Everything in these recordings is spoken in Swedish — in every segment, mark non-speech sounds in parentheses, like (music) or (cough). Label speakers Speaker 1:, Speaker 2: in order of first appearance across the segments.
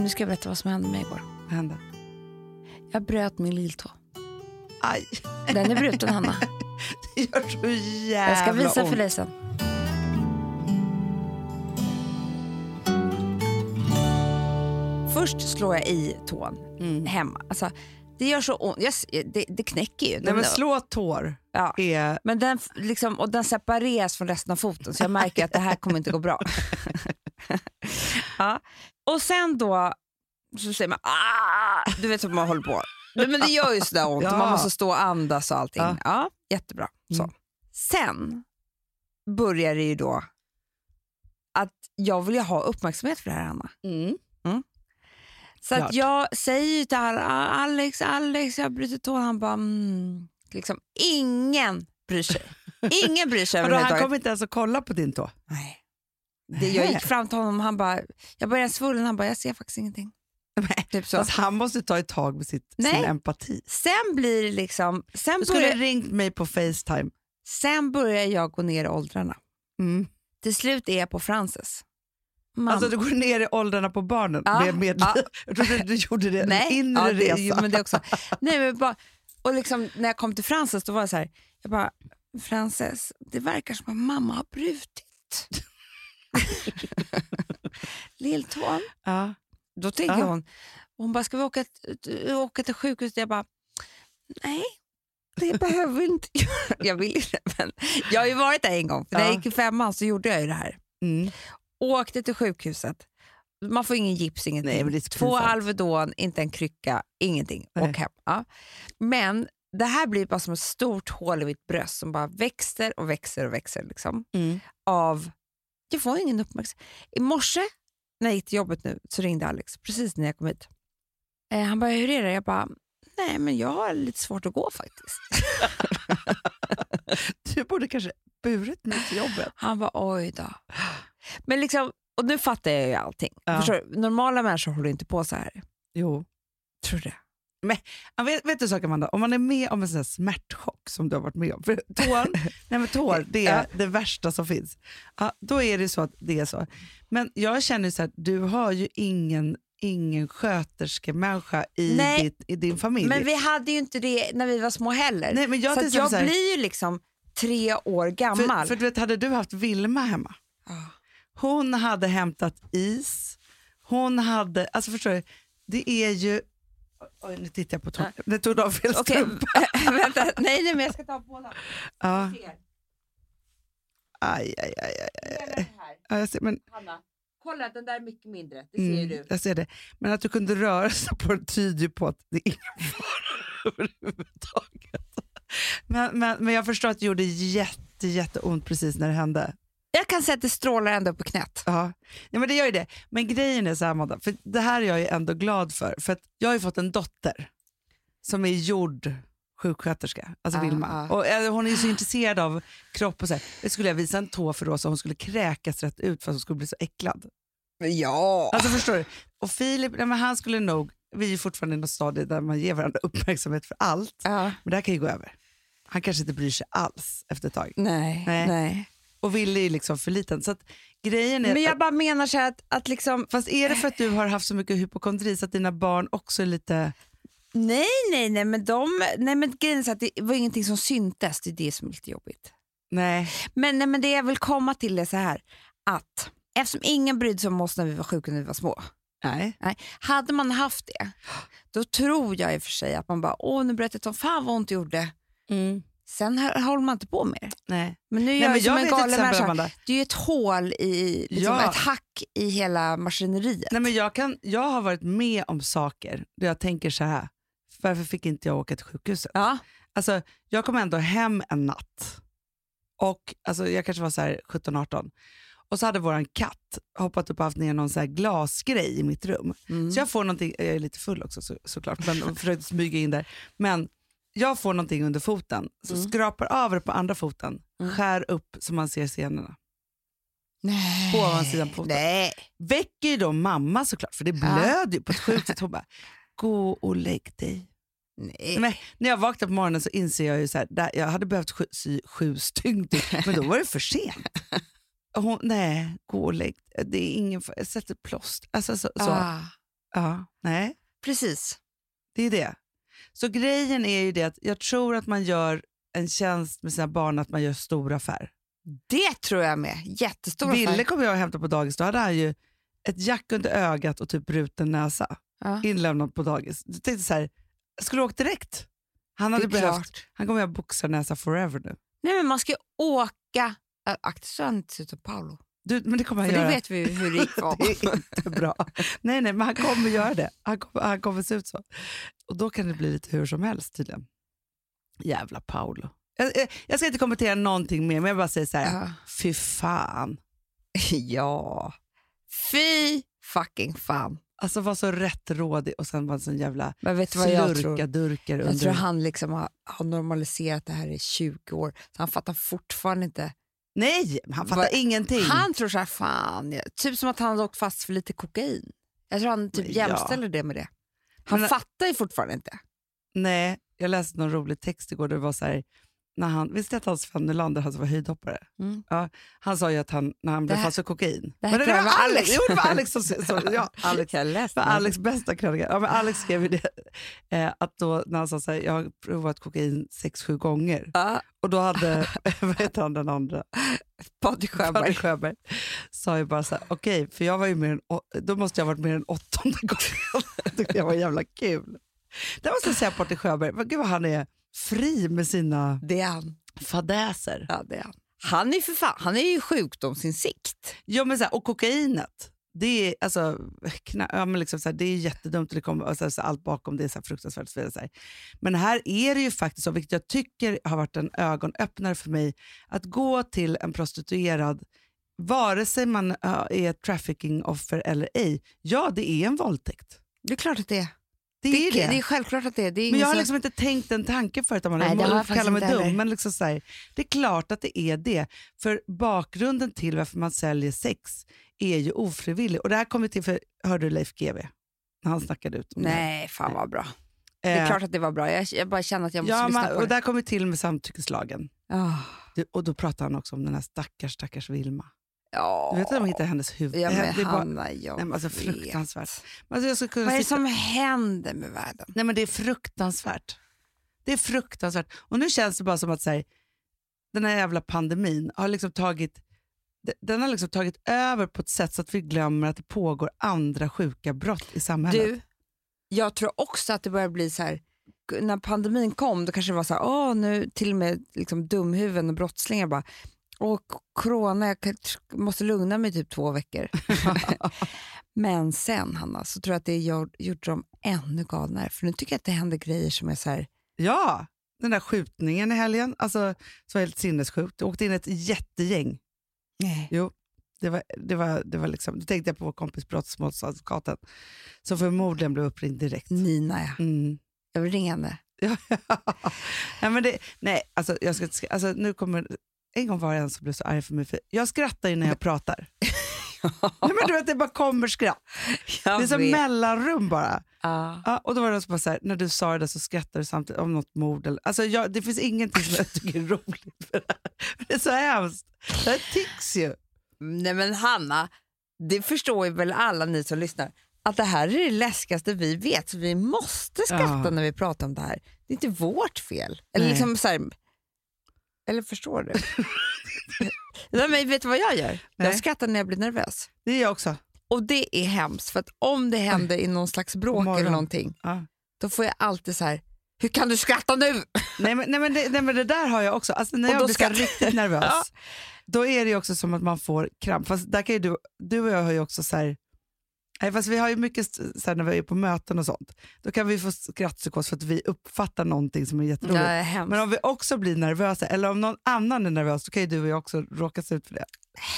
Speaker 1: Nu ska jag berätta vad som hände mig igår.
Speaker 2: Vad hände?
Speaker 1: Jag bröt min lilltå.
Speaker 2: Aj,
Speaker 1: Den är bruten, (laughs) Hanna.
Speaker 2: det gör så jävla
Speaker 1: Jag ska visa
Speaker 2: ont.
Speaker 1: för dig sen. Först slår jag i tån
Speaker 2: Mm.
Speaker 1: hemma. Alltså, det gör så ont. Jag, s- det, det knäcker ju.
Speaker 2: Nej, men
Speaker 1: Den-
Speaker 2: slå tår
Speaker 1: ja.
Speaker 2: är...
Speaker 1: Men den, f- liksom, och den separeras från resten av foten så jag märker att det här kommer inte gå
Speaker 2: (laughs)
Speaker 1: bra. ja. Och sen då så säger man ah! Du vet hur man håller på. Nej, Men det gör ju sådär ont och man
Speaker 2: Ja.
Speaker 1: måste stå och andas och allting. Ja.
Speaker 2: Ja.
Speaker 1: jättebra. Så.
Speaker 2: Mm.
Speaker 1: Sen börjar det ju då att jag vill ju ha uppmärksamhet för det här Anna. Så att
Speaker 2: Klart.
Speaker 1: jag säger ju till alla, "Ah, Alex, Alex, jag har brutit tån. Han bara, mm. liksom, ingen bryr sig. Ingen bryr
Speaker 2: (laughs)
Speaker 1: sig
Speaker 2: Men då, han
Speaker 1: överhuvudtaget.
Speaker 2: kommer inte ens att kolla på din tå?
Speaker 1: Nej. Det, jag gick fram till honom och han bara, jag började svullen, han bara, jag ser faktiskt
Speaker 2: (laughs)
Speaker 1: ingenting. Typ så.
Speaker 2: Fast han måste ta ett tag med sitt,
Speaker 1: Nej.
Speaker 2: sin empati.
Speaker 1: Sen blir det liksom, sen
Speaker 2: Du skulle
Speaker 1: börjar,
Speaker 2: ringt mig på Facetime.
Speaker 1: sen börjar jag gå ner i åldrarna.
Speaker 2: Mm.
Speaker 1: Till slut är jag på Frances. Mamma.
Speaker 2: Alltså du går ner i åldrarna på barnen.
Speaker 1: Ja,
Speaker 2: Med, med,
Speaker 1: ja.
Speaker 2: (laughs) Jag trodde du gjorde det. en
Speaker 1: Nej,
Speaker 2: inre
Speaker 1: ja, det,
Speaker 2: resa.
Speaker 1: jo, men det också. Nej, men bara, och liksom, när jag kom till Frances då var jag så här, jag bara, Frances, det verkar som att mamma har brutit. (laughs) Lilltån.
Speaker 2: Ja.
Speaker 1: Då tänker
Speaker 2: Ja.
Speaker 1: hon, hon bara, ska vi åka, t- åka till sjukhuset? Jag bara, nej. Det behöver vi inte göra." Jag vill inte, men jag har ju varit där en gång. För När jag
Speaker 2: Ja.
Speaker 1: gick i femman så gjorde jag ju det här.
Speaker 2: Mm.
Speaker 1: Åkte till sjukhuset. Man får ingen gips, ingenting.
Speaker 2: Nej, men det är så
Speaker 1: Två
Speaker 2: pinsamt.
Speaker 1: Alvedon, inte en krycka, ingenting.
Speaker 2: Nej.
Speaker 1: Och hem. Ja. Men det här blir bara som ett stort hål i mitt bröst som bara växer och växer och växer. Liksom,
Speaker 2: Mm.
Speaker 1: av, jag får ingen uppmärksamhet. I morse när jag gick till jobbet nu så ringde Alex precis när jag kom hit. Eh, han bara, hur är det? Jag bara, nej men jag har lite svårt att gå faktiskt.
Speaker 2: Du borde kanske burit mig till jobbet.
Speaker 1: Han var oj då. Men liksom, och nu fattar jag ju allting.
Speaker 2: Ja.
Speaker 1: Förstår du? Normala människor håller inte på så här.
Speaker 2: Jo.
Speaker 1: Tror du det?
Speaker 2: Ja, vet, vet du en sak Amanda, om man är med om en sån här smärtchock som du har varit med om, för
Speaker 1: (laughs)
Speaker 2: tår, nej men tår det är det värsta som finns, ja, då är det så att det är så. Men jag känner så här, du har ju ingen, ingen sköterskemänniska i,
Speaker 1: Nej.
Speaker 2: ditt, i din familj.
Speaker 1: Men vi hade ju inte det när vi var små heller.
Speaker 2: nej, men jag,
Speaker 1: så
Speaker 2: till
Speaker 1: att jag
Speaker 2: exempel så här,
Speaker 1: blir ju liksom tre år
Speaker 2: för,
Speaker 1: gammal.
Speaker 2: för du vet, hade du haft Vilma hemma,
Speaker 1: Ja.
Speaker 2: hon hade hämtat is, hon hade, alltså förstår du, det är ju, oj, nu tittar jag på tår, nu tog du av fel
Speaker 1: Okej,
Speaker 2: strumpa.
Speaker 1: (laughs) vänta. Nej, nej, men jag ska ta båda.
Speaker 2: Ja.
Speaker 1: Ser.
Speaker 2: Aj, aj, aj, aj.
Speaker 1: Hela det här,
Speaker 2: Ja, jag ser, men
Speaker 1: Hanna. Kolla, den där är mycket mindre. Det
Speaker 2: Mm, Jag ser det. Men att du kunde röra sig på det tyder ju på att det är ingen fara (laughs) överhuvudtaget. Men, men, men jag förstår att det gjorde jätte, jätteont precis när det hände.
Speaker 1: Jag kan säga att det strålar ända upp i knät.
Speaker 2: Ja. ja, men det gör ju det. Men grejen är så här, Amanda, för det här är jag ju ändå glad för. För att jag har ju fått en dotter som är gjord sjuksköterska, alltså
Speaker 1: Ah,
Speaker 2: Vilma.
Speaker 1: ah.
Speaker 2: Och, eh, hon är ju så intresserad av kropp och så här. Det skulle jag visa en tå för då så hon skulle kräkas rätt ut för att hon skulle bli så äcklad.
Speaker 1: Ja.
Speaker 2: Alltså förstår du? Och Filip, nej, men han skulle nog, vi är fortfarande i något stadie där man ger varandra uppmärksamhet för allt.
Speaker 1: ja.
Speaker 2: Men det här kan ju gå över. Han kanske inte bryr sig alls efter ett tag.
Speaker 1: Nej, nej.
Speaker 2: Nej. Och Ville är ju liksom för liten. Så att grejen är,
Speaker 1: Men jag bara menar så här att, att liksom,
Speaker 2: fast är det för att du har haft så mycket hypokondri så att dina barn också är lite,
Speaker 1: nej, nej, nej, men de, nej, men grejen är så att det var ingenting som syntes, det är det som är lite jobbigt.
Speaker 2: nej,
Speaker 1: Men, nej, men det jag vill komma till är så här att eftersom ingen brydde sig om oss när vi var sjuka när vi var små.
Speaker 2: nej.
Speaker 1: Nej. Hade man haft det, då tror jag i och för sig att man bara, åh nu bröt jag tån, fan vad ont det gjorde. Sen hö- håller man inte på med det.
Speaker 2: nej.
Speaker 1: Men nu
Speaker 2: nej
Speaker 1: gör
Speaker 2: men
Speaker 1: Mm. jag som
Speaker 2: jag
Speaker 1: en
Speaker 2: vet till
Speaker 1: galen
Speaker 2: exempel,
Speaker 1: människa.
Speaker 2: Amanda.
Speaker 1: Det är ju ett hål i, liksom,
Speaker 2: Ja.
Speaker 1: ett hack i hela maskineriet.
Speaker 2: Nej, men jag, kan, jag har varit med om saker där jag tänker så här, varför fick inte jag åka till sjukhuset?
Speaker 1: Ja.
Speaker 2: Alltså, jag kom ändå hem en natt. Och alltså, Jag kanske var så här 17-18. Och så hade våran katt hoppat upp och haft ner någon så här glasgrej i mitt rum.
Speaker 1: Mm.
Speaker 2: Så jag får någonting, jag är lite full också så, såklart,
Speaker 1: (laughs)
Speaker 2: men jag försökte smyga in där. Men jag får någonting under foten, så
Speaker 1: Mm.
Speaker 2: skrapar av det på andra foten, skär upp så man ser senorna.
Speaker 1: Nej.
Speaker 2: På ovansidan på foten.
Speaker 1: Nej.
Speaker 2: Väcker ju då mamma såklart, för det blöder ju på ett sjukt sätt. Hon bara, gå och lägg dig.
Speaker 1: Nej.
Speaker 2: Men när jag vaknade på morgonen så inser jag ju så här, där, jag hade behövt sju, sy sju stygn till, men då var det för sent. Hon, nej, gå och lägg dig. Det är ingen fara. Sätt ett plåster. Alltså, så, så.
Speaker 1: Ah.
Speaker 2: Ja, nej.
Speaker 1: Precis.
Speaker 2: Det är det. Så grejen är ju det att jag tror att man gör en tjänst med sina barn att man gör stor affär.
Speaker 1: Det tror jag med. Jättestor
Speaker 2: Ville
Speaker 1: affär.
Speaker 2: kom jag och hämtade på dagis, då hade han ju ett jack under ögat och typ bruten näsa.
Speaker 1: Ja.
Speaker 2: Inlämnat på dagis. Jag tänkte så här, jag skulle ha åkt direkt. Han
Speaker 1: Det
Speaker 2: hade
Speaker 1: är
Speaker 2: behövt,
Speaker 1: klart.
Speaker 2: han kommer ju ha boxarnäsa forever nu.
Speaker 1: Nej, men man ska ju åka... Äh, Akta så han inte ser ut som Paolo.
Speaker 2: Du, men det kommer han
Speaker 1: För det
Speaker 2: göra.
Speaker 1: vet vi ju hur
Speaker 2: (laughs)
Speaker 1: rik var.
Speaker 2: Det är inte bra. (laughs) Nej, nej, men han kommer göra det. Han kommer, han kommer se ut så. Och då kan det bli lite hur som helst tydligen. Jävla Paolo. Jag, jag, jag ska inte kommentera någonting mer, men jag bara säger så här.
Speaker 1: Ja.
Speaker 2: Fy fan.
Speaker 1: (laughs) ja. Fy fucking fan.
Speaker 2: Alltså var så rätt rådig och sen var en sån jävla
Speaker 1: Men vet du vad jag tror?
Speaker 2: slurkadurkar
Speaker 1: Jag tror
Speaker 2: under.
Speaker 1: han liksom har, har normaliserat det här i 20 år, så han fattar fortfarande inte.
Speaker 2: Nej, han fattar
Speaker 1: Vad-
Speaker 2: ingenting.
Speaker 1: Han tror så här, fan, jag, typ som att han hade åkt fast för lite kokain. Jag tror han typ
Speaker 2: Men ja.
Speaker 1: jämställer det med det. Han
Speaker 2: Men-
Speaker 1: fattar ju fortfarande inte.
Speaker 2: Nej, jag läste någon rolig text igår där det var så här, när han, visst är det att han Sven Nylander, han som var höjdhoppare?
Speaker 1: Mm.
Speaker 2: Ja, han sa ju att han, när han blev
Speaker 1: här-
Speaker 2: fast för kokain.
Speaker 1: det här
Speaker 2: Men
Speaker 1: tror jag var Alex.
Speaker 2: Jo, det var Alex som sa
Speaker 1: (laughs)
Speaker 2: ja, Alex.
Speaker 1: Jag läste
Speaker 2: Det var Alex bästa krönika. Ja, men Alex skrev ju det, eh, att då, när han sa så här, jag har provat kokain sex, sju gånger.
Speaker 1: Ja,
Speaker 2: Och då hade, (laughs) vad heter han den andra?
Speaker 1: Patrik
Speaker 2: Fanny
Speaker 1: Sjöberg.
Speaker 2: Sjöberg sa ju bara så här, okej, för jag var ju mer än, å- då måste jag ha varit mer än åttonde gången. (laughs) Jag tyckte det var jävla kul. Det måste jag säga Patrik Sjöberg, vad- gud vad han är fri med sina
Speaker 1: Det är han.
Speaker 2: fadäser.
Speaker 1: Ja, det är han. Han är, för fan, han är ju sjukdomsinsikt.
Speaker 2: Ja, men så här, och kokainet, det är, alltså, kna, ja, men liksom så här, det är jättedumt, och det kommer, och så här, så allt bakom det är så här fruktansvärt. och Så vidare, så här. Men här är det ju faktiskt så, vilket jag tycker har varit en ögonöppnare för mig, att gå till en prostituerad, vare sig man ja, är ett trafficking-offer eller ej, ja det är en våldtäkt.
Speaker 1: Det är klart att det är.
Speaker 2: Det
Speaker 1: Det
Speaker 2: är
Speaker 1: är,
Speaker 2: det.
Speaker 1: det är självklart att det är. det är
Speaker 2: men
Speaker 1: ingen
Speaker 2: jag har
Speaker 1: som-
Speaker 2: liksom inte tänkt en tanke förut, om man
Speaker 1: Nej, det har jag
Speaker 2: jag kallar
Speaker 1: faktiskt
Speaker 2: mig
Speaker 1: inte
Speaker 2: dum,
Speaker 1: heller.
Speaker 2: men liksom så här, det är klart att det är det. För bakgrunden till varför man säljer sex är ju ofrivillig. Och det här kommer till, för hörde du Leif GW? När han snackade ut om
Speaker 1: Nej, fan vad bra.
Speaker 2: det.
Speaker 1: Det
Speaker 2: här.
Speaker 1: är
Speaker 2: Eh,
Speaker 1: klart att det var bra. Jag, jag bara känner att jag måste
Speaker 2: ja,
Speaker 1: lyssna
Speaker 2: man,
Speaker 1: på
Speaker 2: och
Speaker 1: det.
Speaker 2: det här kommer till med samtyckeslagen.
Speaker 1: Ah.
Speaker 2: Det- Och då pratar han också om den här stackars, stackars Vilma.
Speaker 1: Ja.
Speaker 2: Du vet att de hittar hennes huvud? Eh,
Speaker 1: Ja,
Speaker 2: Det
Speaker 1: men
Speaker 2: är bara-
Speaker 1: Hanna, jag
Speaker 2: Nej, men alltså,
Speaker 1: vet.
Speaker 2: fruktansvärt. Alltså, jag skulle kunna
Speaker 1: Vad är det
Speaker 2: sitta-
Speaker 1: som händer med världen?
Speaker 2: Nej men det är fruktansvärt. Det är fruktansvärt. Och nu känns det bara som att så här, den här jävla pandemin har liksom tagit de- den har liksom tagit över på ett sätt så att vi glömmer att det pågår andra sjuka brott i samhället.
Speaker 1: Du, jag tror också att det börjar bli så här, när pandemin kom då kanske det var så här, åh nu till och med liksom dumhuvuden och brottslingar bara, åh k- corona, jag kan- måste lugna mig i typ två
Speaker 2: (laughs)
Speaker 1: veckor. Men sen Hanna, så tror jag att det gjorde, gjorde dem ännu galnare, för nu tycker jag att det händer grejer som är så här,
Speaker 2: Ja, den där skjutningen i helgen, alltså som var helt sinnessjukt. Det åkte in ett jättegäng.
Speaker 1: nej.
Speaker 2: Jo, det var, det var, det var liksom, då tänkte jag på vår kompis brottsmålsadvokaten som förmodligen blev uppringd direkt.
Speaker 1: Nina ja,
Speaker 2: Mm.
Speaker 1: jag vill ringa henne.
Speaker 2: nej, men det, nej alltså, jag ska, inte sk- alltså, nu kommer, en gång var det en som blev så arg för mig, för jag skrattar ju när jag pratar. nej, men du vet, det bara kommer skratt. Det är som mellanrum bara.
Speaker 1: Ja.
Speaker 2: Ja, och då var det någon som bara så här, när du sa det där så skrattade du samtidigt om något mord. Eller, alltså, jag, det finns ingenting som jag tycker är roligt för det här. (laughs) Det är så hemskt. Det här tics ju.
Speaker 1: Nej men Hanna, det förstår ju väl alla ni som lyssnar att det här är det läskigaste vi vet, så vi måste skratta
Speaker 2: Ja.
Speaker 1: när vi pratar om det här. Det är inte vårt fel. Eller,
Speaker 2: Nej.
Speaker 1: liksom så här, eller förstår
Speaker 2: (laughs)
Speaker 1: du? Nej, men vet du vad jag gör?
Speaker 2: Nej.
Speaker 1: Jag skrattar när jag blir nervös.
Speaker 2: Det är jag också.
Speaker 1: Och det är hemskt, för att om det händer i någon slags bråk
Speaker 2: Imorgon.
Speaker 1: eller någonting,
Speaker 2: Ja.
Speaker 1: då får jag alltid så här, hur kan du skratta nu?
Speaker 2: Nej men, nej, men det, nej men det där har jag också. Alltså, när
Speaker 1: Och
Speaker 2: jag
Speaker 1: då
Speaker 2: blir så här
Speaker 1: ska-
Speaker 2: riktigt
Speaker 1: (laughs)
Speaker 2: nervös,
Speaker 1: Ja.
Speaker 2: då är det ju också som att man får kramp. Fast där kan ju du, du och jag har ju också så här, nej, fast vi har ju mycket st- så här, när vi är på möten och sånt, då kan vi få skrattpsykos för att vi uppfattar någonting som är
Speaker 1: Det
Speaker 2: jätteroligt.
Speaker 1: är hemskt.
Speaker 2: Men om vi också blir nervösa, eller om någon annan är nervös, då kan ju du och jag också råkas ut för det.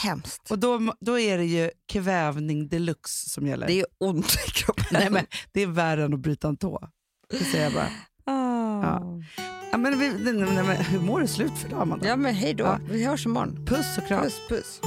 Speaker 1: hemskt.
Speaker 2: Och då, då är det ju kvävning deluxe som gäller.
Speaker 1: Det är ont i kroppen.
Speaker 2: (laughs) nej, men, det är värre än att bryta en tå. Det säger jag bara.
Speaker 1: Ah.
Speaker 2: Ja, men, vi, nej, nej, men, hur mår det slut för idag, Amanda?
Speaker 1: Ja men hej då,
Speaker 2: Ja.
Speaker 1: vi hörs imorgon.
Speaker 2: Puss och kram.
Speaker 1: Puss puss.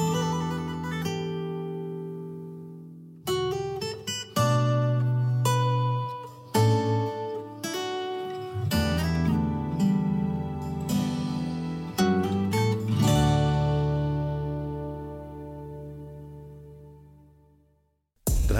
Speaker 3: Den